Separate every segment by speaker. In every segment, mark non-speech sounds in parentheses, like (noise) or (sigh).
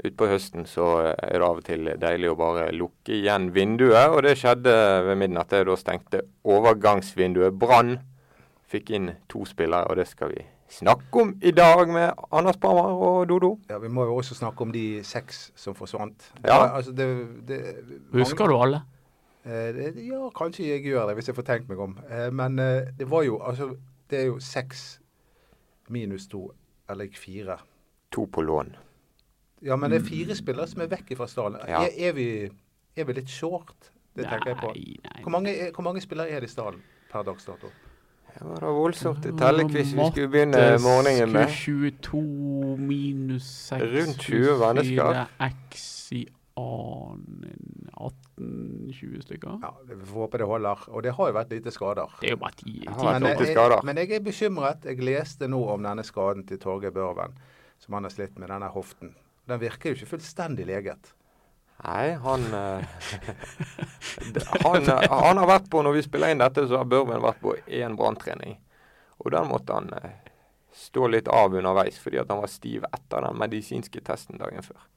Speaker 1: Utpå høsten så eh, er det av og til deilig å bare lukke igjen vinduet, og det skjedde ved midnatt. Da stengte overgangsvinduet. Brann fikk inn to spillere, og det skal vi snakke om i dag med Anders Brammer og Dodo.
Speaker 2: Ja, Vi må jo også snakke om de seks som forsvant.
Speaker 1: Ja.
Speaker 2: Det var- altså, det, det,
Speaker 3: Husker du alle?
Speaker 2: Eh, det, ja, kanskje jeg gjør det, hvis jeg får tenkt meg om. Eh, men eh, det var jo altså Det er jo seks minus to er lik fire.
Speaker 1: To på lån.
Speaker 2: Ja, men det er
Speaker 3: Mm.
Speaker 2: fire spillere som er vekk fra stallen.
Speaker 1: Ja.
Speaker 2: Er, er, vi, er vi litt short? Det tenker jeg på.
Speaker 3: nei.
Speaker 2: Hvor mange, er- hvor mange spillere er det i stallen per dags dato?
Speaker 1: Det var da voldsomt et tellekviss vi skulle begynne
Speaker 3: Matte
Speaker 1: morgenen med.
Speaker 3: skulle 22 minus 6
Speaker 1: Rundt 20 mennesker.
Speaker 3: X i annen 18-20 stykker.
Speaker 2: Ja, Vi får håpe det holder. Og det har jo vært lite skader.
Speaker 3: Det er jo bare 10.
Speaker 1: Ja,
Speaker 3: ti-
Speaker 1: har vært
Speaker 2: Men
Speaker 1: ordentlig
Speaker 2: jeg,
Speaker 1: skader.
Speaker 2: men jeg er bekymret. Jeg leste nå om denne skaden til Torgeir Børven, som han har slitt med, denne hoften. Den virker jo ikke fullstendig leget.
Speaker 1: Nei, han eh, (laughs) han, eh, han har vært på, når vi spiller inn dette, så har Børven vært på én branntrening. Og den måtte han eh, stå litt av underveis, fordi at han var stiv etter den medisinske testen dagen før.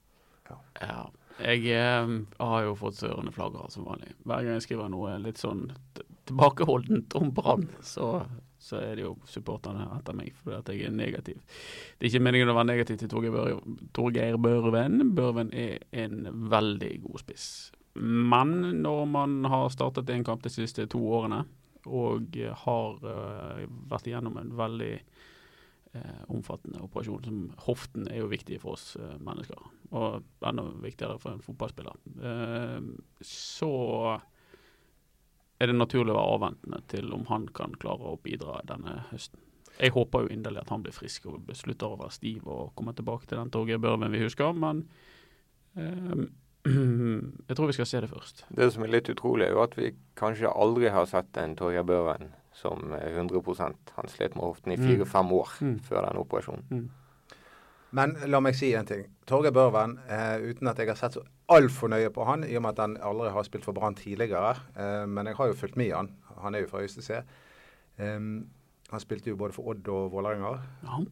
Speaker 3: Ja. Jeg eh, har jo fått sørende flagrer som vanlig. Hver gang jeg skriver noe litt sånn t- tilbakeholdent om Brann, så, så er det jo supporterne etter meg fordi at jeg er negativ. Det er ikke meningen å være negativ til Torgeir Bør- Torgeir Børven. Børven er en veldig god spiss. Men når man har startet en kamp de siste to årene, og eh, har eh, vært igjennom en veldig eh, omfattende operasjon. Som hoften er jo viktig for oss eh, mennesker, og enda viktigere for en fotballspiller. Eh, så er det naturlig å være avventende til om han kan klare å bidra denne høsten. Jeg håper jo inderlig at han blir frisk og beslutter å være stiv og komme tilbake til den Torgeir Børven vi husker, men eh, (clears throat) jeg tror vi skal se det først.
Speaker 1: Det som er litt utrolig, er jo at vi kanskje aldri har sett en Torgeir Børven som er 100 Han slet med hoften i
Speaker 3: Mm.
Speaker 1: fire-fem år
Speaker 3: Mm.
Speaker 1: før den operasjonen.
Speaker 2: Men la meg si en ting. Torgeir Børven, eh, uten at jeg har sett så altfor nøye på han, i og med at han aldri har spilt for Brann tidligere, eh, men jeg har jo fulgt med i han. Han er jo fra Øystese. Em, han spilte jo både for Odd og Vålerenga,
Speaker 3: Ja,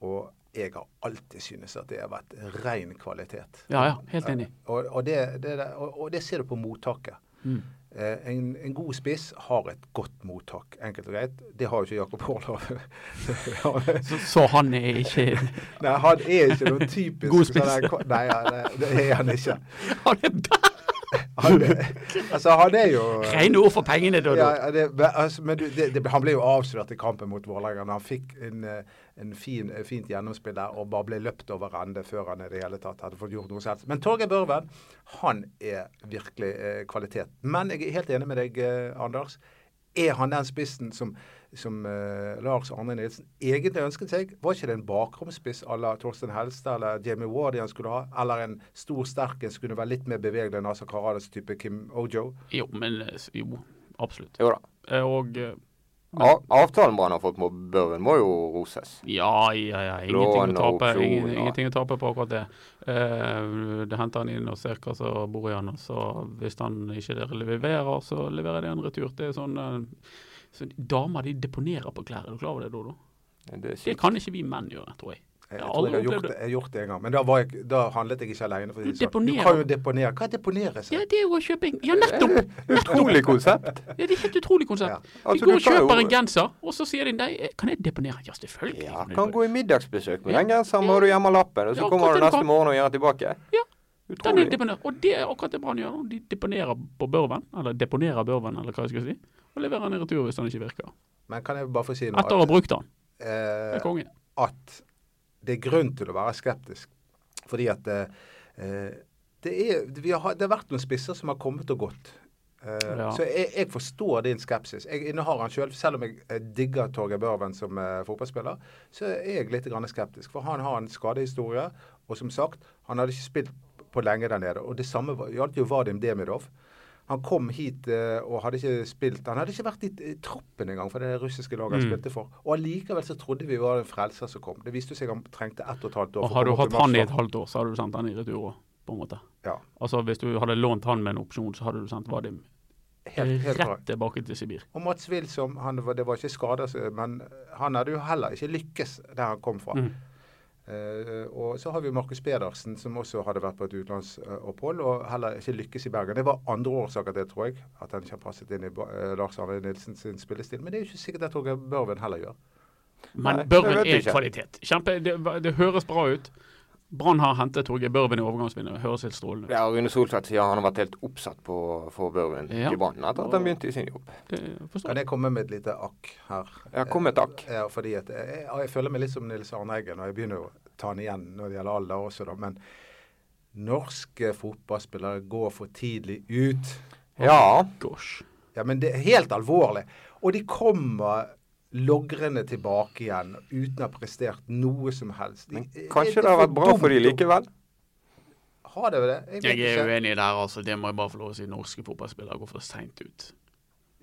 Speaker 2: og jeg har alltid synes at det har vært ren kvalitet.
Speaker 3: ja, ja helt enig.
Speaker 2: Og, og, det, det, det- og, og det ser du på mottaket.
Speaker 3: Mm.
Speaker 2: Eh, en, en god spiss har et godt mottak, enkelt og greit. Det har jo ikke Jakob Orlov. Han-
Speaker 3: (laughs) Så, så han er ikke (laughs)
Speaker 2: nei, han er ikke noen typisk
Speaker 3: God spiss.
Speaker 2: sånn der- nei, han er- det er han ikke.
Speaker 3: Han er
Speaker 2: Han,
Speaker 3: (laughs)
Speaker 2: er- altså, han er jo
Speaker 3: Rene ord for pengene, Dodo.
Speaker 2: ja, ja, det, men, altså, men du, det, det, han ble jo avslørt i kampen mot Vålerenga. når Han fikk en, eh, en fin, eh, fint gjennomspill der og bare ble løpt over ende før han i det hele tatt hadde fått gjort noe selv. Men Torgeir Børven, han er virkelig eh, kvalitet. Men jeg er helt enig med deg, eh, Anders. Er han den spissen som, som eh, Lars Arne Nilsen egentlig ønsket seg? Var ikke det en bakromsspiss à la Torstein Helstad eller Jamie Wardy han skulle ha? Eller en stor, sterk en som kunne være litt mer bevegelig enn Asa Karadas-type Kim Ojo?
Speaker 3: Jo, men eh, s- jo, absolutt.
Speaker 1: Jo da.
Speaker 3: Eh, Og eh,
Speaker 1: A- Avtalen Brann har fått med Børven, må jo roses.
Speaker 3: ja, ja, ja. Ingenting
Speaker 1: Lån
Speaker 3: å
Speaker 1: og
Speaker 3: tape,
Speaker 1: opsjon,
Speaker 3: ingen,
Speaker 1: ja.
Speaker 3: ingenting å tape på akkurat det. Eh, det henter han inn og ser hva som bor i han, og så hvis han ikke leverer, så leverer de en retur. Det er sånn eh, så Damer de deponerer på klær, er du klar over det, Dodo?
Speaker 1: Det er
Speaker 3: Det
Speaker 1: sykt.
Speaker 3: kan ikke vi menn gjøre, tror jeg.
Speaker 2: Jeg,
Speaker 3: Jeg har
Speaker 2: tror jeg har
Speaker 3: aldri
Speaker 2: gjort
Speaker 3: opplevd
Speaker 2: det, jeg har gjort det en gang, men da, var jeg, da handlet jeg ikke alene. For å si det sånn.
Speaker 3: Du
Speaker 2: Du
Speaker 3: deponerer.
Speaker 2: kan jo deponere. Hva er deponere
Speaker 3: Ja,
Speaker 2: seg?
Speaker 3: det er jo å kjøpe en Ja, nettopp!
Speaker 1: (laughs) Utrolig konsept.
Speaker 3: Ja, det er et helt utrolig konsept.
Speaker 2: Ja.
Speaker 1: Altså,
Speaker 3: de går
Speaker 1: du
Speaker 3: og
Speaker 1: kan jo-
Speaker 3: kjøper en genser, og så sier de nei, eh, kan jeg deponere? Ja, selvfølgelig.
Speaker 1: Ja,
Speaker 3: du
Speaker 1: kan
Speaker 3: det.
Speaker 1: gå i middagsbesøk med den genseren, må du gjemme lappen, og
Speaker 3: Ja,
Speaker 1: så kommer
Speaker 3: akkurat
Speaker 1: du
Speaker 3: den
Speaker 1: neste
Speaker 3: kan-
Speaker 1: morgen og gjør den tilbake.
Speaker 3: Ja, Den er
Speaker 1: Utrolig.
Speaker 3: deponert. Og det er akkurat det Brann gjør. nå. De deponerer på Børven, eller deponerer Børven, eller hva jeg skal si, og leverer den i retur hvis den ikke virker.
Speaker 2: Men kan jeg bare få si noe?
Speaker 3: Etter å ha brukt den. Det
Speaker 2: At,
Speaker 3: er konge.
Speaker 2: eh, at det er grunn til å være skeptisk. Fordi at eh, eh, det, er, vi har, det har vært noen spisser som har kommet og gått. Eh,
Speaker 3: Ja.
Speaker 2: Så jeg, jeg forstår din skepsis. Jeg innehar han sjøl. Selv om jeg eh, digger Torgeir Børven som eh, fotballspiller, så er jeg litt grann skeptisk. For han har en skadehistorie, og som sagt, han hadde ikke spilt på lenge der nede. Og det samme var- gjaldt jo Vadim Demidov. Han kom hit eh, og hadde ikke spilt Han hadde ikke vært i eh, troppen engang for det russiske laget han
Speaker 3: Mm.
Speaker 2: spilte for. Og allikevel så trodde vi var en frelser som kom. Det viste seg han trengte ett og et halvt år. for å
Speaker 3: Og har du
Speaker 2: komme
Speaker 3: hatt
Speaker 2: til
Speaker 3: han i et
Speaker 2: matchen.
Speaker 3: halvt år, så hadde du sendt han i retur òg, på en måte.
Speaker 2: Ja,
Speaker 3: Altså hvis du hadde lånt han med en opsjon, så hadde du sendt Vadim
Speaker 2: helt, helt bra.
Speaker 3: rett tilbake til Sibir.
Speaker 2: Og Mats Wilsom, han, var- det var ikke skader, så- men han hadde jo heller ikke lykkes der han kom fra.
Speaker 3: Mm.
Speaker 2: Eh, og så har vi Markus Pedersen, som også hadde vært på et utenlandsopphold og heller ikke lykkes i Bergen. Det var andre årsaker til det, tror jeg, at han ikke har passet inn i Ba- eh, Lars Arne Nilsen sin spillestil. Men det er jo ikke sikkert at Torgeir Børven heller gjør.
Speaker 3: Men
Speaker 1: Nei,
Speaker 3: Børven
Speaker 1: jeg vet
Speaker 3: er
Speaker 1: ikke.
Speaker 3: kvalitet. Kjempe, det, det høres bra ut. Brann har hentet Torgeir Børven i overgangsvinner. Høres helt strålende ut.
Speaker 1: Ja, Rune Solseth sier han har vært helt oppsatt på å få Børven
Speaker 3: Ja.
Speaker 1: i Brann etter at han begynte i sin jobb.
Speaker 3: Det forstår
Speaker 2: Kan
Speaker 3: jeg.
Speaker 2: jeg komme med et lite akk her?
Speaker 1: Ja, kom med et akk.
Speaker 2: Ja, fordi at jeg, jeg føler meg litt som Nils Arne Eggen, og jeg begynner jo å ta han igjen når det gjelder alder også, da. Men norske fotballspillere går for tidlig ut.
Speaker 1: Ja,
Speaker 3: Gosh.
Speaker 2: Ja, men det er helt alvorlig. Og de kommer logrende tilbake igjen uten å ha prestert noe som helst. De-
Speaker 1: men
Speaker 2: eh, er
Speaker 1: kanskje det har vært bra for de
Speaker 2: dumt å-
Speaker 1: likevel?
Speaker 2: Har det det? Jeg vet
Speaker 3: Jeg er
Speaker 2: ikke.
Speaker 3: uenig der, altså. Det må jeg bare få lov å si. Norske fotballspillere går for seint ut.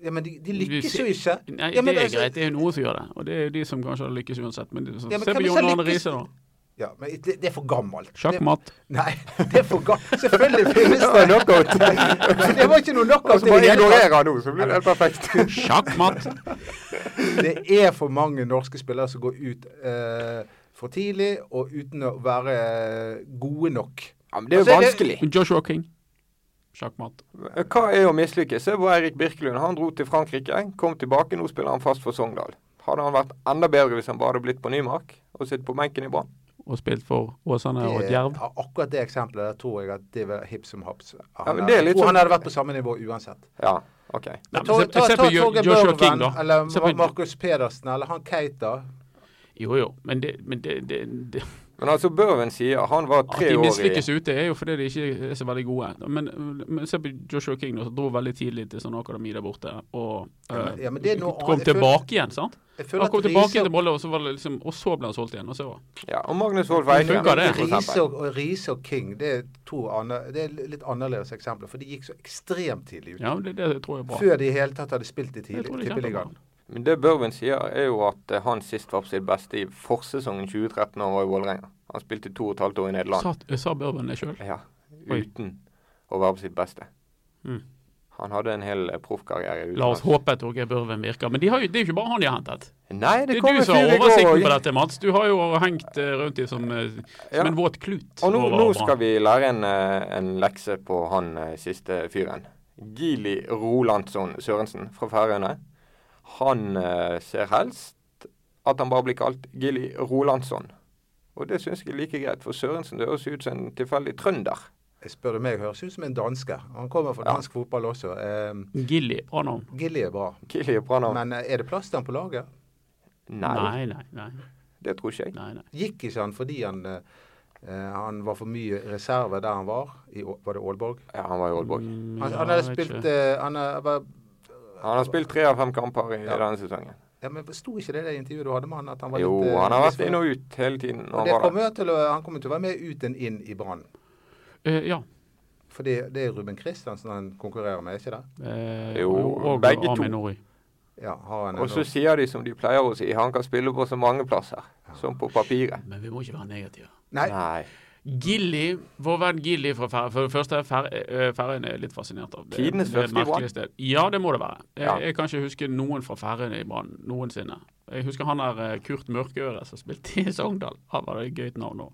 Speaker 2: Ja, men de, de
Speaker 3: Du
Speaker 2: lykkes
Speaker 3: ser-
Speaker 2: jo ikke.
Speaker 3: Nei,
Speaker 2: Ja, men
Speaker 3: det er
Speaker 2: altså-
Speaker 3: greit. Det er jo noen som gjør det. Og det er jo de som kanskje har lykkes uansett. Men, det er sånn,
Speaker 2: Ja, men
Speaker 3: se
Speaker 2: hvem
Speaker 3: på
Speaker 2: er
Speaker 3: John
Speaker 2: som
Speaker 3: Arne
Speaker 2: lykkes?
Speaker 3: Riise, da.
Speaker 2: Ja, men det, det er for gammelt.
Speaker 3: Sjakkmatt.
Speaker 2: Det- Nei, det er for gammelt.
Speaker 1: (laughs)
Speaker 2: Selvfølgelig finnes det.
Speaker 1: knockout.
Speaker 2: Det var ikke noe
Speaker 1: Og
Speaker 2: knockout.
Speaker 1: så Altså,
Speaker 2: i
Speaker 1: bare
Speaker 2: det hele tatt.
Speaker 1: ignorerer han nå, så blir det helt perfekt.
Speaker 3: Sjakkmatt!
Speaker 2: (laughs) Det er for mange norske spillere som går ut eh, for tidlig og uten å være eh, gode nok.
Speaker 1: Ja, men det er jo
Speaker 2: Altså, det-
Speaker 1: vanskelig.
Speaker 3: Joshua King. Sjakkmatt.
Speaker 1: Eh, Hva er å mislykkes? Se på Eirik Birkelund. Han dro til Frankrike, kom tilbake, nå spiller han fast for Sogndal. Hadde han vært enda bedre hvis han bare hadde blitt på Nymark og sittet på benken i Brann?
Speaker 3: Og spilt for Åsane og
Speaker 2: Det-
Speaker 3: Djerv.
Speaker 2: ja, akkurat det eksempelet der tror jeg at det var hipp som haps. Han,
Speaker 1: Ja, men det er litt
Speaker 2: jeg tror han
Speaker 1: sånn-
Speaker 2: hadde vært på samme nivå uansett.
Speaker 1: Ja, OK.
Speaker 3: Nei, men
Speaker 2: ta
Speaker 3: se-
Speaker 2: ta,
Speaker 3: se
Speaker 2: ta,
Speaker 3: på Jo-
Speaker 2: Torgeir
Speaker 3: Joshua
Speaker 2: Børven,
Speaker 3: King, da.
Speaker 2: eller
Speaker 3: Se på-
Speaker 2: Ma- Markus Pedersen, eller han Keita.
Speaker 3: Jo, jo. Men det, men det, det, det
Speaker 1: Men altså, Børven sier han var
Speaker 3: At
Speaker 1: tre
Speaker 3: de
Speaker 1: år i
Speaker 3: mislykkes ute, er jo fordi de ikke er så veldig gode. Men, men se på Joshua King, nå, som dro veldig tidlig til sånn akademi der borte. Og
Speaker 2: Ja, men-
Speaker 3: eh,
Speaker 2: ja, men det er noe
Speaker 3: kom
Speaker 2: annet. Jeg føler-
Speaker 3: tilbake igjen, sant?
Speaker 2: Jeg føler
Speaker 3: Han
Speaker 2: at
Speaker 3: kom tilbake
Speaker 2: Riise-
Speaker 3: til Molde, og så, var det liksom, og så ble han solgt igjen. Og så
Speaker 1: Ja, og Magnus Wolff
Speaker 3: Men
Speaker 1: Eikrem,
Speaker 3: funker det?
Speaker 1: for
Speaker 2: Riise
Speaker 1: eksempel.
Speaker 2: og, og Riise og King det er to andre, det er litt annerledes eksempler, for de gikk så ekstremt tidlig ut.
Speaker 3: Ja, det, det tror jeg er bra.
Speaker 2: Før de i hele tatt hadde spilt i
Speaker 3: Jeg
Speaker 2: tidlig-
Speaker 3: tror det er
Speaker 2: Tippeligaen.
Speaker 3: kjempebra.
Speaker 1: Men det Børven sier, er jo at eh, han sist var på sitt beste i forsesongen 2013 da han var i Vålerenga. Han spilte to og et halvt år i Nederland.
Speaker 3: Sa, sa Børven det sjøl?
Speaker 1: Ja,
Speaker 3: Oi.
Speaker 1: uten å være på sitt beste.
Speaker 3: Mm.
Speaker 1: Han hadde en hel eh, proffkarriere.
Speaker 3: La oss
Speaker 1: utenlands.
Speaker 3: håpe at Torgeir Børven virker. Men de har jo, det er jo ikke bare han de har hentet.
Speaker 1: Nei,
Speaker 3: Det
Speaker 1: det
Speaker 3: er
Speaker 1: kom
Speaker 3: du
Speaker 1: en
Speaker 3: som har
Speaker 1: fyr i går.
Speaker 3: oversikten
Speaker 1: og-
Speaker 3: på dette, Mats. Du har jo hengt eh, rundt i som, eh,
Speaker 1: Ja.
Speaker 3: som en våt klut.
Speaker 1: Og nå,
Speaker 3: over
Speaker 1: nå
Speaker 3: Brann.
Speaker 1: skal vi lære en, eh, en lekse på han eh, siste fyren. Gili Rolandsson Sørensen fra Færøyene. Han eh, ser helst at han bare blir kalt Gili Rolandsson. Og det syns jeg er like greit, for Sørensen det høres ut som en tilfeldig trønder.
Speaker 2: Jeg spør du meg, høres ut som en danske. Han kommer fra
Speaker 1: Ja.
Speaker 2: dansk fotball også. Eh,
Speaker 3: Gilly. Bra navn.
Speaker 2: Gilly er bra.
Speaker 1: Gili er bra navn.
Speaker 2: Men eh, er det plass til han på laget?
Speaker 1: Nei,
Speaker 3: Nei, nei, nei.
Speaker 1: det tror ikke jeg.
Speaker 3: nei, nei.
Speaker 2: Gikk ikke han fordi han, eh, eh, han var for mye reserve der han var? I, Å- var det Aalborg?
Speaker 1: Ja, han var i Aalborg.
Speaker 3: Mm,
Speaker 2: Han,
Speaker 3: ja,
Speaker 2: han
Speaker 3: jeg
Speaker 2: hadde
Speaker 3: vet
Speaker 2: spilt
Speaker 3: ikke.
Speaker 2: eh, han, eh, var,
Speaker 1: Han har spilt tre av fem kamper i
Speaker 2: Ja.
Speaker 1: denne sesongen.
Speaker 2: ja, men Sto ikke det i det intervjuet du hadde med han? At han var
Speaker 1: Jo,
Speaker 2: litt, eh,
Speaker 1: han har vært
Speaker 2: misfornøyd?
Speaker 1: inn og ut hele tiden. når
Speaker 2: Og
Speaker 1: Han
Speaker 2: det
Speaker 1: var der.
Speaker 2: kommer jo til å, han kommer til å være med ut enn inn i Brann.
Speaker 3: Eh, ja.
Speaker 2: For det, det er Ruben Kristiansen han konkurrerer med, ikke det?
Speaker 3: Eh,
Speaker 1: Jo,
Speaker 3: og- og
Speaker 1: begge to.
Speaker 3: Armin Nori.
Speaker 2: Ja, har han en-
Speaker 1: Og så sier de som de pleier å si, han kan spille på så mange plasser, som på papiret.
Speaker 3: Men vi må ikke være negative.
Speaker 2: Nei,
Speaker 1: Nei.
Speaker 3: Gilly, vår venn Gilly fra Færøyene For det første er Fær- eh, Færøyene er jeg litt fascinert av. Det, er-
Speaker 1: Tidenes
Speaker 3: det er et
Speaker 1: første i Brann.
Speaker 3: merkelig sted. Ja, det må det være. Jeg,
Speaker 1: Ja.
Speaker 3: jeg kan ikke huske noen fra Færøyene i Brann noensinne. Jeg husker han der eh, Kurt Mørkeøre som spilte i Sogndal. Han var det et gøyt navn òg.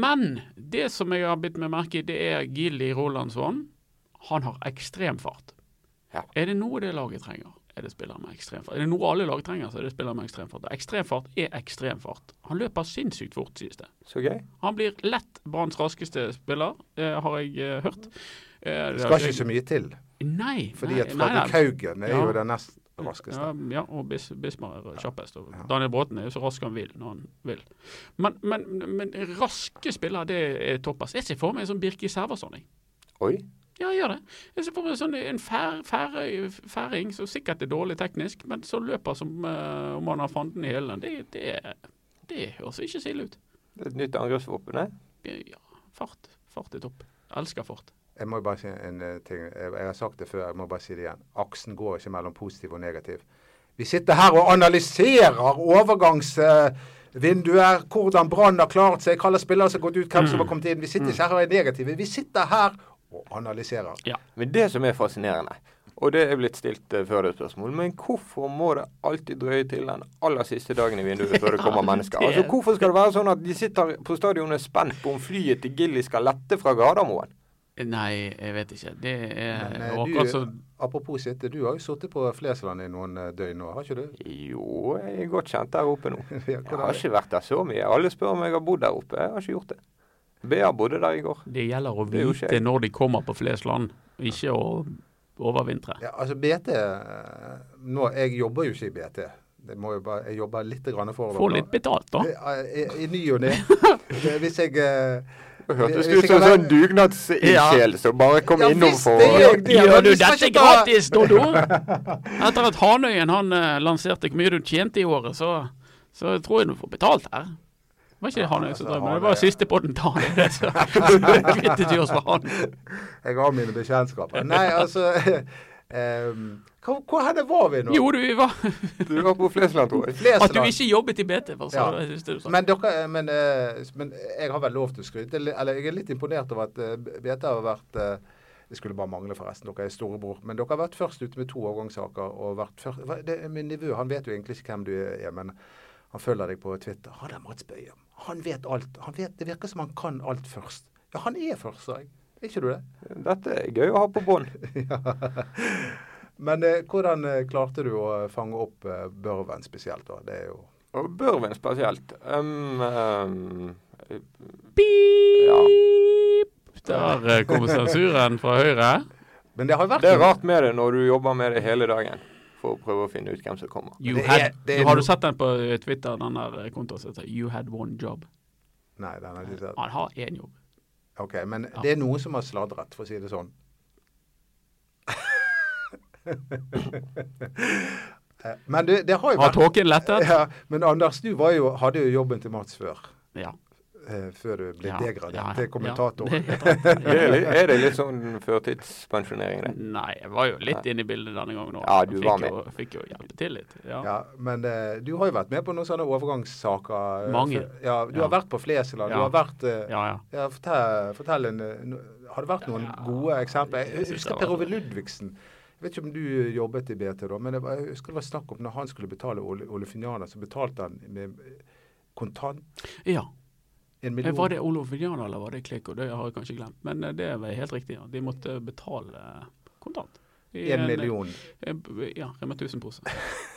Speaker 3: Men det som jeg har bitt meg merke i, det er Gilly Rolandsson. Han har ekstrem fart.
Speaker 1: Ja.
Speaker 3: Er det noe det laget trenger, er det spillere med ekstrem fart. Er det noe alle lag trenger, så er det spillere med ekstrem fart. Og Ekstrem fart er ekstrem fart. Han løper sinnssykt fort, sies det.
Speaker 1: Så gøy.
Speaker 3: Han blir lett Branns raskeste spiller, eh, har jeg eh, hørt. Eh,
Speaker 2: det skal ikke så mye til.
Speaker 3: Nei.
Speaker 2: Fordi
Speaker 3: nei,
Speaker 2: at
Speaker 3: nei, nei.
Speaker 2: Fredrik Haugen er
Speaker 3: Ja.
Speaker 2: jo den nest raskeste.
Speaker 3: Ja, ja, og Bis Bismar er kjappest. Og Daniel Bråten er jo så rask han vil når han vil. Men, men, men raske spillere, det er toppass. Jeg ser for meg en sånn Birki Serversson. jeg.
Speaker 1: Oi.
Speaker 3: Ja, jeg gjør det. Jeg ser for meg sånn en fær, færøy- færing som sikkert er dårlig teknisk, men som løper som eh, om han har fanden i hælen. Det, det, det høres ikke så ille ut.
Speaker 1: Det er et nytt angrepsvåpen, det.
Speaker 3: Ja, fart. Fart er topp. Elsker fart.
Speaker 2: Jeg må bare si en eh, ting. Jeg, jeg har sagt det før, jeg må bare si det igjen. Aksen går ikke mellom positiv og negativ. Vi sitter her og analyserer overgangsvinduer,
Speaker 3: Mm.
Speaker 2: hvordan Brann har klart seg, hvilke spillere som har gått ut, hvem som har kommet inn. Vi sitter ikke her og er negative. Vi sitter her og analyserer.
Speaker 1: Men det som er fascinerende, og det er blitt stilt eh, før det spørsmål, men hvorfor må det alltid drøye til den aller siste dagen i vinduet før det kommer mennesker? Altså, Hvorfor skal det være sånn at de sitter på stadionet spent på om flyet til Gilly skal lette fra Gardermoen?
Speaker 3: Nei, jeg vet ikke. Det er
Speaker 2: Men, eh,
Speaker 3: akkurat
Speaker 2: du-
Speaker 3: som
Speaker 2: Apropos sitte, du har jo sittet på Flesland i noen eh, døgn nå, har ikke du?
Speaker 1: Jo, jeg er godt kjent der oppe nå.
Speaker 2: Ja,
Speaker 1: Jeg
Speaker 2: hvordan er
Speaker 1: har
Speaker 2: det?
Speaker 1: ikke vært der så mye. Alle spør om jeg har bodd der oppe. Jeg har ikke gjort det. Bea bodde der i går.
Speaker 3: Det gjelder å
Speaker 1: Det er jo
Speaker 3: vite
Speaker 1: skjevt.
Speaker 3: når de kommer på flest land, ikke å overvintre.
Speaker 2: Ja, altså BT eh, nå, Jeg jobber jo ikke i BT. Det må jo bare, jeg jobber litt grann for
Speaker 3: Få litt betalt, da.
Speaker 2: I, i ny og
Speaker 3: (laughs)
Speaker 2: ne. Eh, Hvis jeg eh,
Speaker 1: Det hørtes
Speaker 2: Hvis jeg
Speaker 1: ut som en
Speaker 2: kan være-
Speaker 1: sånn dugnadsinnsjel som bare kom
Speaker 2: Ja,
Speaker 1: innom
Speaker 2: visst,
Speaker 1: for
Speaker 2: det gjør jeg.
Speaker 3: Gjør
Speaker 2: men
Speaker 3: du
Speaker 2: vi skal
Speaker 3: dette
Speaker 2: ikke ta-
Speaker 3: gratis,
Speaker 2: (laughs)
Speaker 3: Dodo? Etter at Hanøyen han eh, lanserte hvor mye du tjente i året, så, så tror jeg du får betalt her. Det var ikke Hanøy som
Speaker 2: altså,
Speaker 3: drev med det, det
Speaker 2: Hanøy,
Speaker 3: var siste podden til
Speaker 2: (laughs)
Speaker 3: Hanøy. Så så kvittet vi oss med han.
Speaker 2: Jeg har mine bekjentskaper. Nei, altså (laughs) em, Hvor, hvor henne var vi nå?
Speaker 3: Jo, du, vi var
Speaker 1: Du var på Flesland, tror jeg.
Speaker 2: Flesland.
Speaker 3: At du ikke jobbet i BT, var så
Speaker 2: Ja.
Speaker 3: jeg synes det
Speaker 1: Sånn.
Speaker 3: du sa.
Speaker 2: Men, dere, men, eh, men jeg har vel lov til å skryte. li- Eller jeg er litt imponert over at eh, BT har vært eh, Det skulle bare mangle, forresten. Dere er storebror. Men dere har vært først ute med to avgangssaker. og vært først, hva- det, Min nevø han vet jo egentlig ikke hvem du er, men han følger deg på Twitter. Han er Mats Bøye. Han vet alt. Han vet, det virker som han kan alt først. Ja, han er først, sa jeg. Er ikke du
Speaker 1: (laughs)
Speaker 2: det?
Speaker 1: Dette er gøy å ha på bånd.
Speaker 2: Men eh, hvordan eh, klarte du å fange opp eh, Børven spesielt? da? Det er jo
Speaker 1: Og Børven spesielt. Um, um,
Speaker 3: Pip! Der eh, kom sensuren fra høyre.
Speaker 2: Men det har jo vært
Speaker 1: det er rart med det når du jobber med det hele dagen for å prøve å finne ut hvem som kommer.
Speaker 3: You
Speaker 2: Det er-
Speaker 3: had,
Speaker 2: det er
Speaker 3: Nå har du
Speaker 2: no-
Speaker 3: sett den på eh, Twitter, den der eh, kontoen som heter You had one job.
Speaker 2: Nei, den har jeg ikke sett.
Speaker 3: Han har én jobb.
Speaker 2: Ok, Men det er noen som har sladret, for å si det sånn. (laughs) Eh, men det, det har jo
Speaker 3: Har
Speaker 2: vært
Speaker 3: tåken lettet?
Speaker 2: ja, Men Anders, du var jo, hadde jo jobben til Mats før.
Speaker 3: Ja.
Speaker 2: eh, før du ble
Speaker 3: ja,
Speaker 2: degradert
Speaker 3: ja,
Speaker 2: til kommentator.
Speaker 3: Ja, det er helt
Speaker 1: Det er,
Speaker 3: rett.
Speaker 1: litt, er det litt sånn førtidspensjonering, det?
Speaker 3: Nei, jeg var jo litt inne i bildet denne gangen òg.
Speaker 1: Ja, du var med.
Speaker 3: Jo, fikk jo hjelpe til litt. Ja.
Speaker 2: Ja, men eh, du har jo vært med på noen sånne overgangssaker. eh,
Speaker 3: Mange.
Speaker 2: før. Ja, du
Speaker 3: Ja.
Speaker 2: har vært på Flesland. Du
Speaker 3: Ja.
Speaker 2: har vært eh,
Speaker 3: ja, ja.
Speaker 2: Ja, fortell, fortell en, eh, no- Har det vært noen
Speaker 3: Ja,
Speaker 2: gode eksempler? Jeg
Speaker 3: jeg synes
Speaker 2: husker
Speaker 3: det
Speaker 2: Per
Speaker 3: var-
Speaker 2: Ove Ludvigsen. Jeg vet ikke om du jobbet i BT da, men det var, jeg husker det var snakk om når han skulle betale Ole, Ole Finjana, så betalte han med kontant
Speaker 3: ja.
Speaker 2: en
Speaker 3: Eh,
Speaker 2: million.
Speaker 3: Var det Olof Vidiana eller var det Kliko? Det har jeg kanskje glemt. Men eh, det var helt riktig. ja. De måtte betale eh, kontant. I
Speaker 2: En million.
Speaker 3: eh, b- Ja, Rema 1000-pose. (laughs)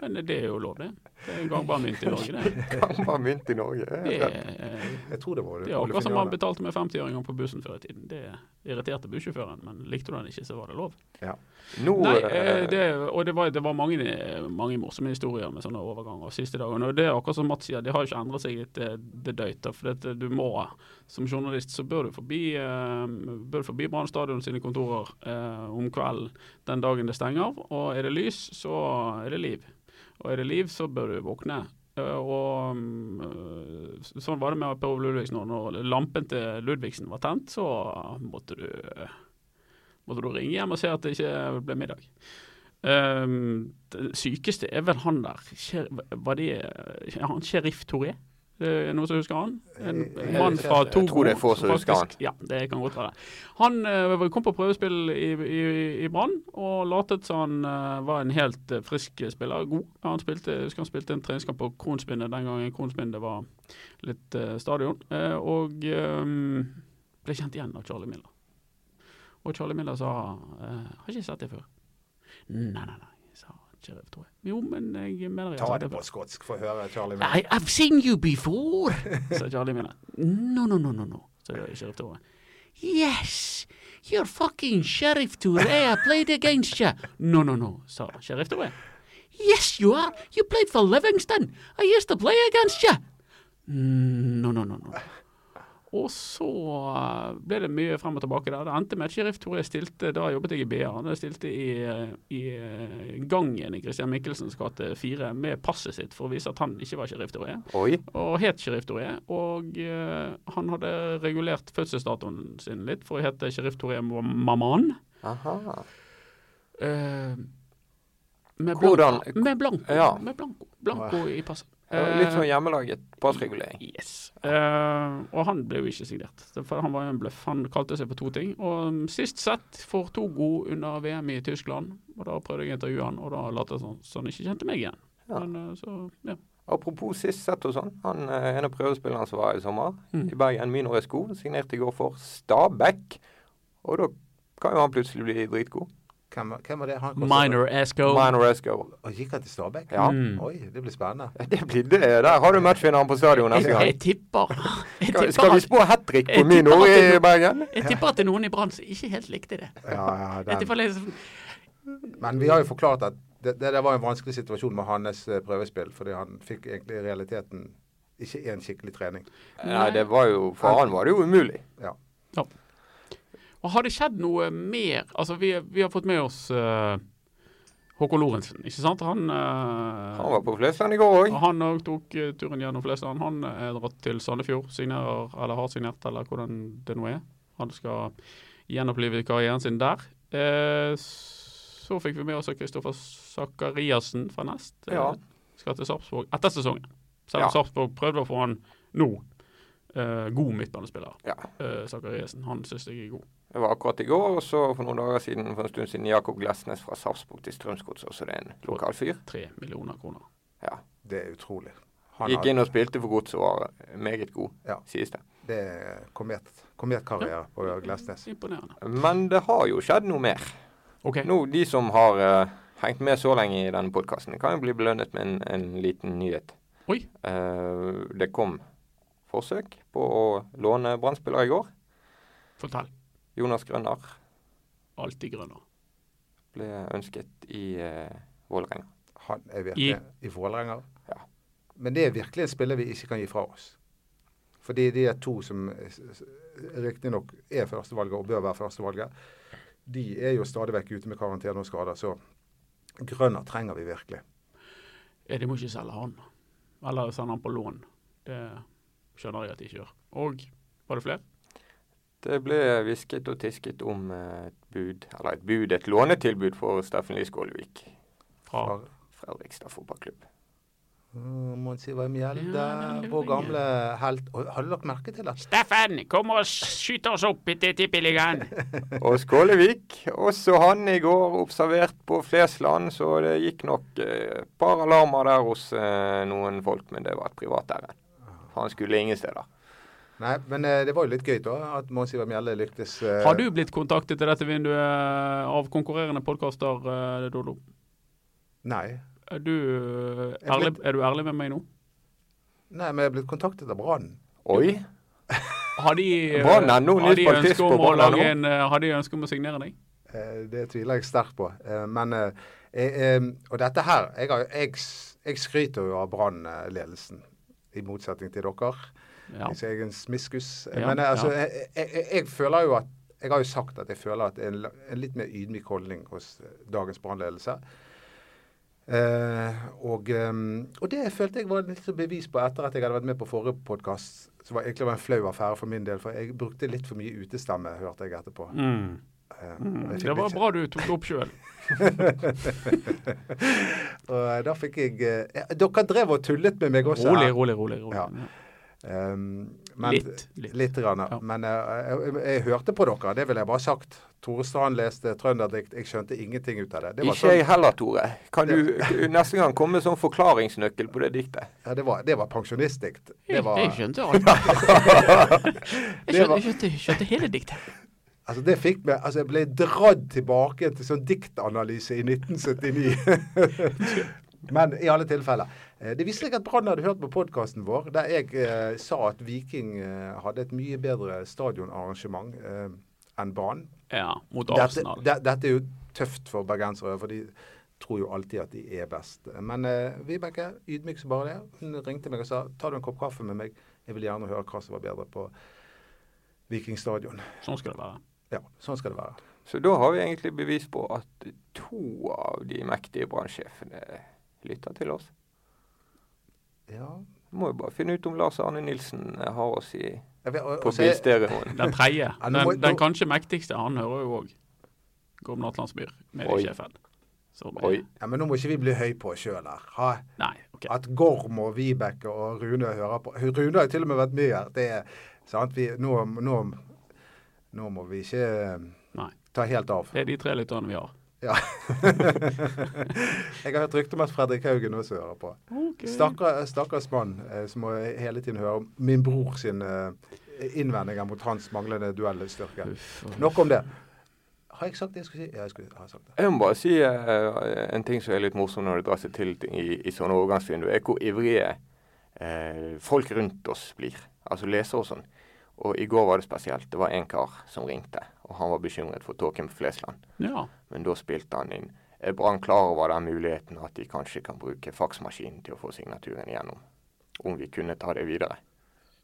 Speaker 3: Men eh, det er jo lov, det. Det er en gangbar mynt i
Speaker 1: (laughs)
Speaker 3: Norge, det.
Speaker 1: Kan man mynt i Norge? Det
Speaker 3: Det
Speaker 1: er
Speaker 3: er,
Speaker 1: rett.
Speaker 3: eh,
Speaker 2: Jeg tror det var
Speaker 3: det er
Speaker 2: Ole
Speaker 3: akkurat som
Speaker 2: Finjana.
Speaker 3: man betalte med 50-åringer på bussen før i tiden. Det irriterte bussjåføren, men likte du den ikke, så var det lov.
Speaker 1: Nå
Speaker 3: Nei, eh,
Speaker 1: eh,
Speaker 3: det, og det var, det var mange, mange morsomme historier med sånne overganger siste dagen. Og det er akkurat som Mats sier, det har jo ikke endret seg litt eh, det døyta. For dette, du må, som journalist, så bør du forbi, eh, bør du forbi Brann stadion sine kontorer eh, om kvelden den dagen det stenger. Og er det lys, så er det liv. Og er det liv, så bør du våkne. Eh, Og mm, eh, sånn var det med Per Ove Ludvigsen òg. Når lampen til Ludvigsen var tent, så måtte du, måtte du ringe hjem og se at det ikke ble middag. Ehm, det sykeste er vel han der Sher- Var det ja, han Sheriff Touré? Det Er noen som husker han? En
Speaker 2: Jeg- jeg-
Speaker 3: mann fra
Speaker 1: jeg
Speaker 3: Togo.
Speaker 1: tror det er få som husker han.
Speaker 3: Ja, det kan godt være. Han eh, kom på prøvespill i, i, i Brann og latet som han eh, var en helt eh, frisk spiller. God. Han spilte, jeg husker han spilte en treningskamp på Kronspinnet den gangen Kronspinnet var litt eh, stadion. Eh, og eh, ble kjent igjen av Charlie Miller. Og Charlie Miller sa eh, 'Har ikke sett det før'. Nei, nei, nei, sa sheriff, tror jeg. Jo, men jeg mener jeg
Speaker 2: Ta
Speaker 3: har
Speaker 2: det
Speaker 3: sett det
Speaker 2: på
Speaker 3: før.
Speaker 2: skotsk, få høre, Charlie. Miller.
Speaker 3: I, I've seen you (laughs) before, sa Charlie Miller. No, no, no, no, no, sa sheriff Touré. Yes, you're fucking sheriff Touré. I played against you. No, no, no, sa sheriff Touré. Yes, you are. You played for Livingston. I used to play against you. No, no, no, no. Og så eh, ble det mye frem og tilbake der. Det endte med at sheriff Tore stilte da jobbet jeg i BA. Han stilte i, eh, i eh, gangen i Christian Michelsens gate 4 med passet sitt for å vise at han ikke var sheriff Tore
Speaker 1: Oi.
Speaker 3: og het Sheriff Doré. Og eh, han hadde regulert fødselsdatoen sin litt for å hete Sheriff Doré Maman.
Speaker 1: Aha.
Speaker 3: Eh, med
Speaker 1: Hvordan-
Speaker 3: blanko. Med blanko,
Speaker 1: Ja.
Speaker 3: med blanko, blanko i passet.
Speaker 1: Det var Litt sånn hjemmelaget passregulering.
Speaker 3: Yes. Eh, og han ble jo ikke signert. Det- For han var jo en bløff. Han kalte seg på to ting. Og mm, sist sett for Togo under VM i Tyskland. Og da prøvde jeg å intervjue han, og da lot jeg sånn så han ikke kjente meg igjen.
Speaker 1: Ja.
Speaker 3: Men eh, så, ja.
Speaker 1: Apropos sist sett og sånn. Han eh, ene prøvespilleren som var her i sommer
Speaker 3: Mm.
Speaker 1: i Bergen, Mino Resko, signerte i går for Stabæk. Og da kan jo han plutselig bli dritgod.
Speaker 2: Hvem, hvem var det han kostet?
Speaker 3: Minor Esco.
Speaker 1: Mino Resko.
Speaker 2: Og gikk han til Stabæk?
Speaker 1: Ja.
Speaker 3: Mm.
Speaker 2: Oi, det blir spennende.
Speaker 1: Det blir det. Der har du matchvinneren på stadion
Speaker 3: Jeg,
Speaker 1: neste gang.
Speaker 3: jeg tipper jeg
Speaker 1: Skal,
Speaker 3: tipper,
Speaker 1: skal vi
Speaker 3: at,
Speaker 1: spå hat trick på
Speaker 3: Jeg tipper
Speaker 1: Mino
Speaker 3: at det-
Speaker 1: i Bergen?
Speaker 3: jeg tipper at det er noen i Brann som ikke helt likte det.
Speaker 2: Ja, ja,
Speaker 3: Jeg
Speaker 2: den.
Speaker 3: tipper liksom,
Speaker 2: Men vi har jo forklart at det, det der var en vanskelig situasjon med hans eh, prøvespill, fordi han fikk egentlig i realiteten ikke en skikkelig trening.
Speaker 1: Nei, det var jo For han var det jo umulig.
Speaker 2: Ja.
Speaker 3: Og har det skjedd noe mer? Altså, vi, vi har fått med oss eh, Håkon Lorentzen, ikke sant? Han, eh,
Speaker 1: Han var på Flesland i går òg.
Speaker 3: og han også tok eh, turen gjennom Flesland. Han eh, er dratt til Sandefjord, signerer, eller har signert, eller hvordan det nå er. Han skal gjenopplive karrieren sin der. Eh, så fikk vi med oss Kristoffer Sakariassen fra Nest. eh,
Speaker 1: Ja.
Speaker 3: Skal til Sarpsborg etter sesongen. Selv
Speaker 1: Ja.
Speaker 3: om Sarpsborg prøvde å få han nå. Eh, god midtbanespiller,
Speaker 1: Ja.
Speaker 3: eh, Sakariassen. Han syns jeg er god.
Speaker 1: Det var akkurat i går, og så for noen dager siden, for en stund siden, Jakob Glesnes fra Sarpsborg til Strømsgodset. Så det er en lokal fyr.
Speaker 3: Tre millioner kroner.
Speaker 1: Ja.
Speaker 2: Det er utrolig. Han
Speaker 1: Gikk
Speaker 2: har,
Speaker 1: inn og spilte for Godset og var meget god,
Speaker 2: Ja.
Speaker 1: sies det.
Speaker 2: det er komet- kometkarriere på Glesnes.
Speaker 3: Imponerende.
Speaker 1: Men det har jo skjedd noe mer.
Speaker 3: OK.
Speaker 1: Nå, De som har eh, hengt med så lenge i denne podkasten, kan jo bli belønnet med en, en liten nyhet.
Speaker 3: Oi.
Speaker 1: Eh, det kom forsøk på å låne Brann-spillere i går.
Speaker 3: Fortell.
Speaker 1: Jonas Grønner
Speaker 3: Alltid grønner.
Speaker 1: ble ønsket i eh, Vålerenga.
Speaker 2: Han er
Speaker 3: I-
Speaker 2: virkelig i Vålerenga.
Speaker 1: Ja.
Speaker 2: Men det er virkelig en spiller vi ikke kan gi fra oss. Fordi de er to som riktignok er førstevalget og bør være førstevalget. De er jo stadig vekk ute med karantene og skader, så Grønner trenger vi virkelig.
Speaker 3: Ja, de må ikke selge han. Eller sende han på lån. Det skjønner jeg at de ikke gjør. Og var det flere?
Speaker 1: Det ble hvisket og tisket om eh, et bud, eller et bud, et lånetilbud for Steffen Lie Skålevik.
Speaker 3: Fra
Speaker 2: Har-
Speaker 1: Fredrikstad fotballklubb.
Speaker 2: Mm, Mons Ivar Mjelde,
Speaker 3: Ja, den luringen.
Speaker 2: vår gamle helt. Og Hadde dere merke til at
Speaker 3: Steffen, kom og skyt oss opp i Tippeligaen!
Speaker 1: Og Skålevik, også han i går observert på Flesland, så det gikk nok eh, et par alarmer der hos eh, noen folk, men det var et privat ærend. For Han skulle ingen steder.
Speaker 2: Nei, men eh, det var jo litt gøy, da. At Mons Ivar Mjelde lyktes eh,
Speaker 3: Har du blitt kontaktet i dette vinduet av konkurrerende podkaster, eh, Dodo?
Speaker 2: Nei.
Speaker 3: Er du, eh,
Speaker 2: Jeg ble-
Speaker 3: ærlig, er du ærlig med meg nå?
Speaker 2: Nei, men jeg er blitt kontaktet av Brann.
Speaker 1: Oi!
Speaker 3: Har de, eh,
Speaker 1: Brann er nå
Speaker 3: har de
Speaker 1: nytt partist
Speaker 3: ønske
Speaker 1: på
Speaker 3: om å
Speaker 1: Brann er nå.
Speaker 3: lage en, eh, har de ønske om å signere deg?
Speaker 2: Eh, Det tviler jeg sterkt på. Eh, Men eh, jeg, eh, Og dette her Jeg, har, jeg, s- jeg skryter jo av Brann-ledelsen, i motsetning til dere.
Speaker 3: Ja.
Speaker 2: Hvis jeg er en smiskus.
Speaker 3: Ja,
Speaker 2: Men eh, altså,
Speaker 3: ja.
Speaker 2: jeg, jeg, jeg, jeg føler jo at Jeg har jo sagt at jeg føler at en, la- en litt mer ydmyk holdning hos eh, dagens brannledelse. Eh, og, eh, og det følte jeg var litt sånn bevis på etter at jeg hadde vært med på forrige podkast. Som var egentlig var en flau affære for min del, for jeg brukte litt for mye utestemme, hørte jeg etterpå.
Speaker 3: Mm.
Speaker 2: Eh, og jeg fikk
Speaker 3: Det var
Speaker 2: litt-
Speaker 3: bra du tok det opp sjøl.
Speaker 2: (laughs) og eh, da fikk jeg eh, ja, Dere drev og tullet med meg også.
Speaker 3: Rolig,
Speaker 2: her.
Speaker 3: rolig, rolig. rolig.
Speaker 2: Ja. Eh, men,
Speaker 3: Litt, litt.
Speaker 2: grann,
Speaker 3: Ja.
Speaker 2: Men eh, jeg, jeg, jeg hørte på dere, det vil jeg bare ha sagt. Tore Strand leste trønderdikt, jeg skjønte ingenting ut av det. Det var,
Speaker 1: Ikke jeg
Speaker 2: sånn,
Speaker 1: heller, Tore. Kan du neste gang komme med sånn forklaringsnøkkel på det diktet?
Speaker 2: ja, det var, det var pensjonistdikt. Det
Speaker 3: Jeg,
Speaker 2: var,
Speaker 3: jeg skjønte alt. jeg,
Speaker 2: Det
Speaker 3: skjønte,
Speaker 2: var-
Speaker 3: jeg, skjønte, jeg skjønte hele diktet.
Speaker 2: altså, det fikk meg, altså, jeg ble dratt tilbake til sånn diktanalyse i 1979. (laughs) Men i alle tilfeller. Eh, Det viste seg at Brann hadde hørt på podkasten vår, der jeg eh, sa at Viking eh, hadde et mye bedre stadionarrangement eh, enn banen.
Speaker 3: Ja, mot
Speaker 2: Dette,
Speaker 3: Arsenal.
Speaker 2: de, dette er jo tøft for bergensere, for de tror jo alltid at de er best. Men eh, Vibeke, ydmyk som bare det, hun ringte meg og sa ta du en kopp kaffe med meg, jeg vil gjerne høre hva som var bedre på Viking stadion.
Speaker 3: Sånn skal det være.
Speaker 2: Ja, sånn skal det være.
Speaker 1: Så da har vi egentlig bevis på at to av de mektige brannsjefene lytter til oss.
Speaker 2: Ja.
Speaker 1: Må jo bare finne ut om Lars Arne Nilsen eh, har oss i,
Speaker 2: Jeg vet, og,
Speaker 1: på
Speaker 2: og så er-
Speaker 1: bilstereoen.
Speaker 3: Den tredje.
Speaker 2: nå
Speaker 3: Den,
Speaker 2: må- nå-
Speaker 3: den kanskje mektigste. Han hører jo òg Gorm Natlandsmyr, mediesjefen. Som er-
Speaker 1: Oi.
Speaker 2: ja, men nå må ikke vi bli høy på oss sjøl her. Ha,
Speaker 3: Nei, Ok.
Speaker 2: At Gorm og Vibeke og Rune hører på Rune har jo til og med vært med her. Det er, sant? Vi, nå, nå, nå må vi ikke eh,
Speaker 3: Nei.
Speaker 2: ta helt av.
Speaker 3: Det er de tre lytterne vi har.
Speaker 2: Ja. (laughs) Jeg har hørt rykte om at Fredrik Haugen også hører på. Stakkar, stakkars mann eh, som må hele tiden høre om min bror sin eh, innvendinger mot hans manglende duellstyrke.
Speaker 3: Uff, uff.
Speaker 2: Nok om det. Har jeg sagt det jeg skulle si? Ja, jeg skulle ha sagt det.
Speaker 1: Jeg må bare si eh, en ting som er litt morsom når det drar seg til i, i sånne overgangsvinduer, er hvor ivrige eh, folk rundt oss blir. Altså lesere og sånn. Og i går var det spesielt. Det var en kar som ringte, og han var bekymret for Tåken Flesland.
Speaker 3: Ja.
Speaker 1: Men da spilte han inn. Er Brann klar over den muligheten at de kanskje kan bruke faksmaskinen til å få signaturen igjennom? Om vi kunne ta det videre.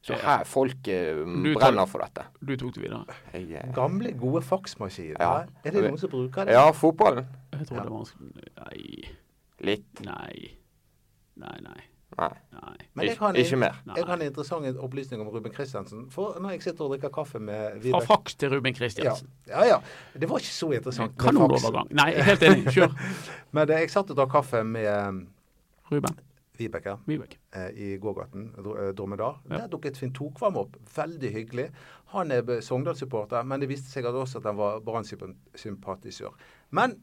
Speaker 1: Så
Speaker 3: Ja.
Speaker 1: her, folk eh,
Speaker 3: Du tar-
Speaker 1: brenner for dette.
Speaker 3: Du tok det videre.
Speaker 1: Jeg, eh,
Speaker 2: Gamle, gode faksmaskiner.
Speaker 1: Ja.
Speaker 2: Er det noen som bruker det?
Speaker 1: ja, fotballen.
Speaker 3: Jeg tror
Speaker 2: Ja.
Speaker 3: det var vanskelig Nei.
Speaker 1: Litt.
Speaker 3: Nei. Nei, nei.
Speaker 1: Nei.
Speaker 3: Nei.
Speaker 2: Men jeg
Speaker 1: Ik-
Speaker 2: kan-
Speaker 1: ikke mer.
Speaker 3: nei.
Speaker 2: Jeg har en interessant opplysning om Ruben Christiansen. For når jeg sitter og drikker kaffe med
Speaker 3: Fra
Speaker 2: Vibeke
Speaker 3: faks til Ruben
Speaker 2: ja,
Speaker 3: Kristiansen.
Speaker 2: ja, ja. Det var ikke så interessant. med faks.
Speaker 3: Kanonovergang. Nei, jeg er helt enig. Kjør.
Speaker 2: Men eh, jeg satt og drakk kaffe med eh,
Speaker 3: Ruben
Speaker 2: Vibeke.
Speaker 3: Vibeke.
Speaker 2: eh, i gågaten, Dro- eh, Dromedar.
Speaker 3: Ja.
Speaker 2: Der dukket Finn Tokvam opp. Veldig hyggelig. Han er be- Sogndal-supporter, men det viste seg at også at han var Brann-sympatisør. Men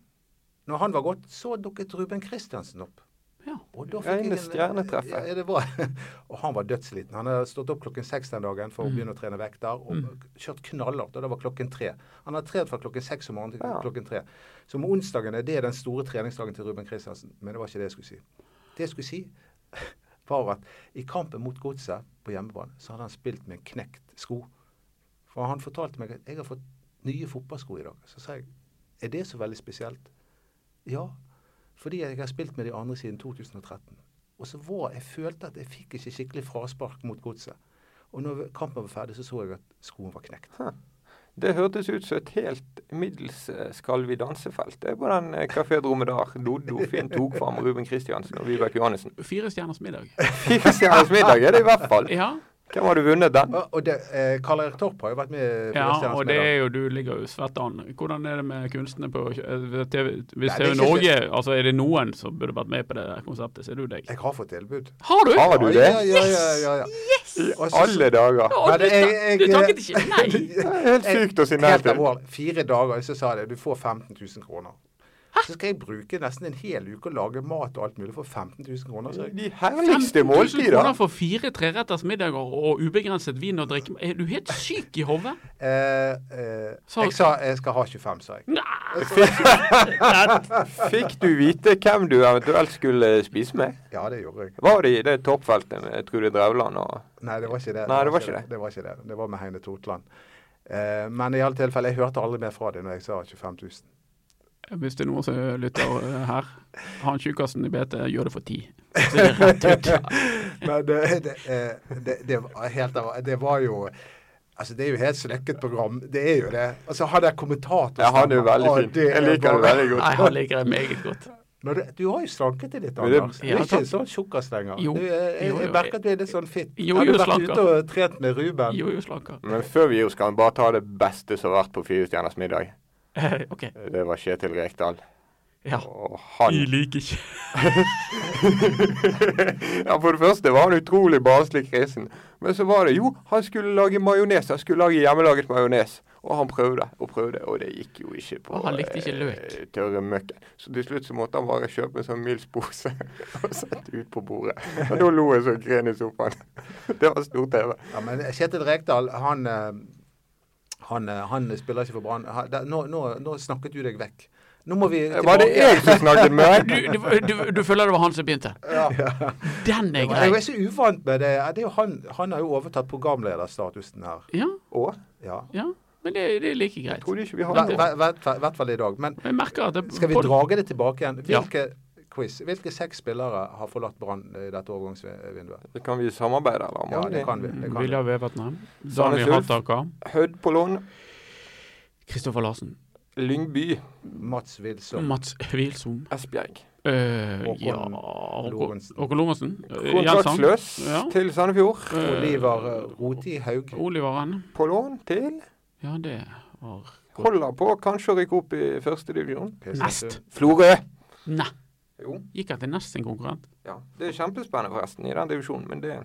Speaker 2: når han var gått, så dukket Ruben Christiansen opp.
Speaker 3: Ja.
Speaker 2: Og da
Speaker 1: Rene stjernetreffet.
Speaker 2: Ja, ja, det var. (laughs) Og han var dødsliten. Han hadde stått opp klokken seks den dagen for å begynne å trene vekter, og kjørt knallhardt. Og det var klokken tre. Han har trent fra klokken seks om morgenen til
Speaker 1: Ja.
Speaker 2: klokken tre. Så om onsdagen er det den store treningsdagen til Ruben Kristiansen. Men det var ikke det jeg skulle si. Det jeg skulle si, (laughs) var at i kampen mot Godset på hjemmebane, så hadde han spilt med en knekt sko. For han fortalte meg at jeg har fått nye fotballsko i dag. Så sa jeg, er det så veldig spesielt? Ja, fordi jeg har spilt med de andre siden 2013. Og så var jeg følte at jeg fikk ikke skikkelig fraspark mot godset. Og når kampen var ferdig, så så jeg at skoen var knekt.
Speaker 1: Det hørtes ut som et helt middels eh, Skal vi danse-felt. Det er på den eh, Café Dromedar. Doddo, Finn Tokvam, Ruben Kristiansen og Vibeke Johannessen.
Speaker 3: Fire stjerners
Speaker 2: (laughs)
Speaker 3: middag.
Speaker 1: Fire stjerners middag er det i hvert fall.
Speaker 3: Ja,
Speaker 1: Hvem hadde vunnet den?
Speaker 2: Og- Og det, eh, Karl Erik Torp har jo vært med på
Speaker 3: ja
Speaker 2: Stjernes
Speaker 3: og det
Speaker 2: middag.
Speaker 3: er jo, du ligger jo svært an. Hvordan er det med kunstene på eh, TV?
Speaker 2: Nei,
Speaker 3: Hvis TV
Speaker 2: det er ikke-
Speaker 3: Norge Altså, er det noen som burde vært med på det der konseptet, så er det jo deg.
Speaker 2: Jeg har fått tilbud.
Speaker 3: Har du?
Speaker 1: Har du det?
Speaker 2: Ja, ja, ja, ja, ja. Og så-
Speaker 1: Alle dager.
Speaker 3: Å,
Speaker 2: Men
Speaker 3: du,
Speaker 2: jeg-
Speaker 3: du
Speaker 2: jeg-
Speaker 3: takket ikke
Speaker 2: (laughs)
Speaker 3: nei?
Speaker 1: Det er helt sykt å si nei
Speaker 2: Helt
Speaker 1: til.
Speaker 2: alvorlig. Fire dager, så sa jeg det. Du får 15 000 kroner. Så skal jeg bruke nesten en hel uke og lage mat og alt mulig for 15 000 kroner. Så jeg,
Speaker 1: Altså, De herligste
Speaker 3: 15 000 kroner
Speaker 1: måltider.
Speaker 3: for fire treretters middager og ubegrenset vin og drikke. Er du helt syk i hodet?
Speaker 2: eh, eh,
Speaker 3: Så-
Speaker 2: jeg sa jeg skal ha 25, sa jeg.
Speaker 1: Fikk du vite hvem du eventuelt skulle spise med?
Speaker 2: Ja, det gjorde jeg.
Speaker 1: Var det i det toppfeltet med Trude Drevland og
Speaker 2: Nei, det var ikke det.
Speaker 1: Nei, det var ikke det.
Speaker 2: Det var, ikke det. Det var med Heine Totland. Eh, men i alle tilfelle, jeg hørte aldri mer fra det når jeg sa 25 000.
Speaker 1: (laughs)
Speaker 3: Hvis det er noen som lytter eh, her, han tjukkasen i BT gjør det for ti. Så er det rett ut.
Speaker 2: Men det, eh, det, eh, det, det, var helt, av- det var jo Altså, det er jo helt sløkket program. Det er jo det. Og så har jeg kommentator.
Speaker 1: Ja, han er jo veldig
Speaker 2: Å,
Speaker 1: fin.
Speaker 2: det
Speaker 1: Jeg
Speaker 2: er
Speaker 1: liker det
Speaker 2: bare-
Speaker 1: veldig godt.
Speaker 3: Nei, han liker det meget godt.
Speaker 2: Men du, du har jo slanket deg litt,
Speaker 1: Men det-
Speaker 2: Anders. Du
Speaker 3: Ja,
Speaker 2: er ikke
Speaker 3: takk.
Speaker 2: en sånn tjukkas lenger.
Speaker 3: Jo.
Speaker 2: Du, eh, jeg,
Speaker 3: Jo,
Speaker 2: jeg
Speaker 3: jo,
Speaker 2: merker at du er litt sånn fit.
Speaker 3: Jo,
Speaker 2: har du
Speaker 3: jo,
Speaker 2: vært
Speaker 3: slanker.
Speaker 2: ute og trent med Ruben?
Speaker 3: Jo, jo, slanker.
Speaker 1: Men før vi gir oss, kan vi bare ta det beste som har vært på Fire stjerners middag.
Speaker 3: Eh, OK.
Speaker 1: Det var Kjetil Rekdal.
Speaker 3: Ja.
Speaker 1: Og
Speaker 3: Jeg
Speaker 1: han
Speaker 3: liker ikke
Speaker 1: (laughs) ja, For det første var han utrolig barnslig kresen. Men så var det jo, han skulle lage majones. Han skulle lage hjemmelaget majones. Og han prøvde og prøvde, og det gikk jo ikke på
Speaker 3: Og han likte ikke
Speaker 1: eh,
Speaker 3: løk.
Speaker 1: tørre møkken. Så til slutt så måtte han bare kjøpe en sånn Mills-pose (laughs) og sette ut på bordet. Og da lo jeg så jeg gren i sofaen. (laughs) Det var stor-TV.
Speaker 2: Ja, men Kjetil Rekdal, han, eh, han, eh, han spiller ikke for Brann. Ha- da- Nå, nå, nå snakket du deg vekk. Nå må vi
Speaker 1: Var det jeg som snakket med
Speaker 3: Du,
Speaker 1: deg?
Speaker 3: du, du, du føler det var han som begynte?
Speaker 2: Ja.
Speaker 3: Den er grei.
Speaker 2: Jeg er så uvant med det. det er jo han, han har jo overtatt programlederstatusen her.
Speaker 3: Ja,
Speaker 1: Å,
Speaker 2: Ja.
Speaker 3: ja. Men det, det er like greit.
Speaker 1: trodde ikke vi hadde
Speaker 2: I
Speaker 1: noe.
Speaker 2: hvert fall i dag. Men
Speaker 3: Jeg merker at det,
Speaker 2: skal vi
Speaker 3: pod-
Speaker 2: drage det tilbake igjen?
Speaker 3: Ja.
Speaker 2: Hvilke quiz, hvilke seks spillere har forlatt Brann i dette overgangsvinduet?
Speaker 1: Det kan vi samarbeide eller?
Speaker 2: Ja, det kan vi. Det kan vi.
Speaker 3: Vilja Vevatnheim,
Speaker 1: Sandnes
Speaker 3: Daniel
Speaker 1: Ulf.
Speaker 3: Hattaker,
Speaker 1: Hødd på lån.
Speaker 3: Kristoffer Larsen,
Speaker 1: Lyngby.
Speaker 2: Mats Wilson.
Speaker 3: Mats Hvilsom,
Speaker 1: Esbjerg.
Speaker 3: øh,
Speaker 2: Håkon
Speaker 3: ja
Speaker 2: Lorentzen.
Speaker 3: Håkon- Håkon Lorentzen. øh, Jens Sand,
Speaker 1: Kontraktsløs
Speaker 3: Ja.
Speaker 1: til Sandefjord.
Speaker 3: øh,
Speaker 2: Oliver eh, Roti Haug.
Speaker 3: Oliveren.
Speaker 1: På lån til
Speaker 3: Ja, det var
Speaker 1: Holder på kanskje å rykke opp i første divisjon.
Speaker 2: Pisse-
Speaker 3: Nest.
Speaker 1: Florø!
Speaker 3: Nei.
Speaker 1: Jo.
Speaker 3: Gikk han til nest sin konkurrent?
Speaker 1: Ja. Det er kjempespennende forresten i den divisjonen, men det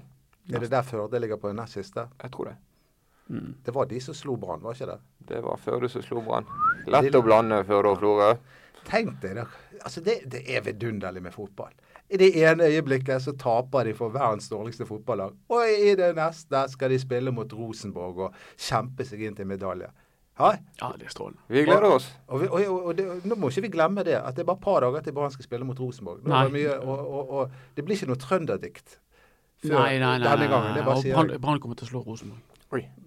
Speaker 2: Er det der Førde ligger på den nest siste?
Speaker 1: Jeg tror det.
Speaker 3: Mm.
Speaker 2: Det var de som slo Brann, var ikke det?
Speaker 1: Det var Førde som slo Brann. Lett å blande Førde og Florø.
Speaker 2: Tenk deg det. Altså det, det er vidunderlig med fotball. I det ene øyeblikket så taper de for verdens dårligste fotballag, og i det neste skal de spille mot Rosenborg og kjempe seg inn til medalje. Ja,
Speaker 3: Ja, det er strålende.
Speaker 1: Vi gleder oss.
Speaker 2: og, vi, og, og, og det, nå må ikke vi glemme det, at det er bare et par dager til Brann skal spille mot Rosenborg. Nå er
Speaker 3: Nei.
Speaker 2: det mye, og, og, og det blir ikke noe trønderdikt før
Speaker 3: Nei, nei, nei. nei,
Speaker 2: denne gangen.
Speaker 3: nei.
Speaker 2: Det bare
Speaker 3: Og
Speaker 2: sier
Speaker 3: Brann
Speaker 2: jeg.
Speaker 3: Brann kommer til å slå Rosenborg.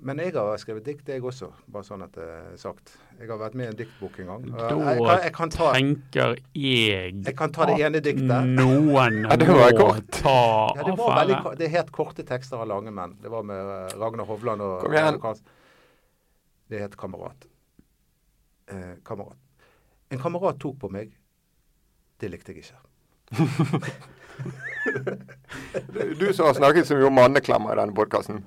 Speaker 2: Men jeg har skrevet dikt, jeg også. Bare sånn at det er sagt. Jeg har vært med i en diktbok en gang.
Speaker 3: Da
Speaker 2: jeg, kan, jeg, kan ta,
Speaker 3: Tenker jeg
Speaker 2: jeg kan ta det ene diktet.
Speaker 3: Noen
Speaker 1: Ja, det var
Speaker 3: må
Speaker 1: kort.
Speaker 3: ta
Speaker 2: Ja, det, var veldig,
Speaker 3: affære.
Speaker 2: ko- det er helt korte tekster av lange menn. Det var med eh, Ragnar Hovland og
Speaker 1: Kom igjen.
Speaker 2: og Karls- Det het Kamerat. Eh, kamerat. En kamerat tok på meg. Det likte jeg ikke.
Speaker 1: Du- Du som har snakket så mye om manneklemmer i denne podkasten.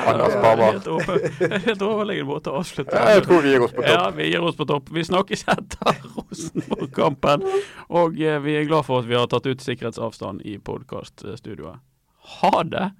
Speaker 1: Anders
Speaker 3: Ja, det er
Speaker 1: Barbar.
Speaker 3: helt over- det er Helt overlegen måte å avslutte
Speaker 1: Jeg tror vi gir oss på topp.
Speaker 3: Ja, vi gir oss på topp. Vi snakkes etter Rosenborg-kampen. Og eh, vi er glad for at vi har tatt ut sikkerhetsavstand i podkaststudioet. Ha det!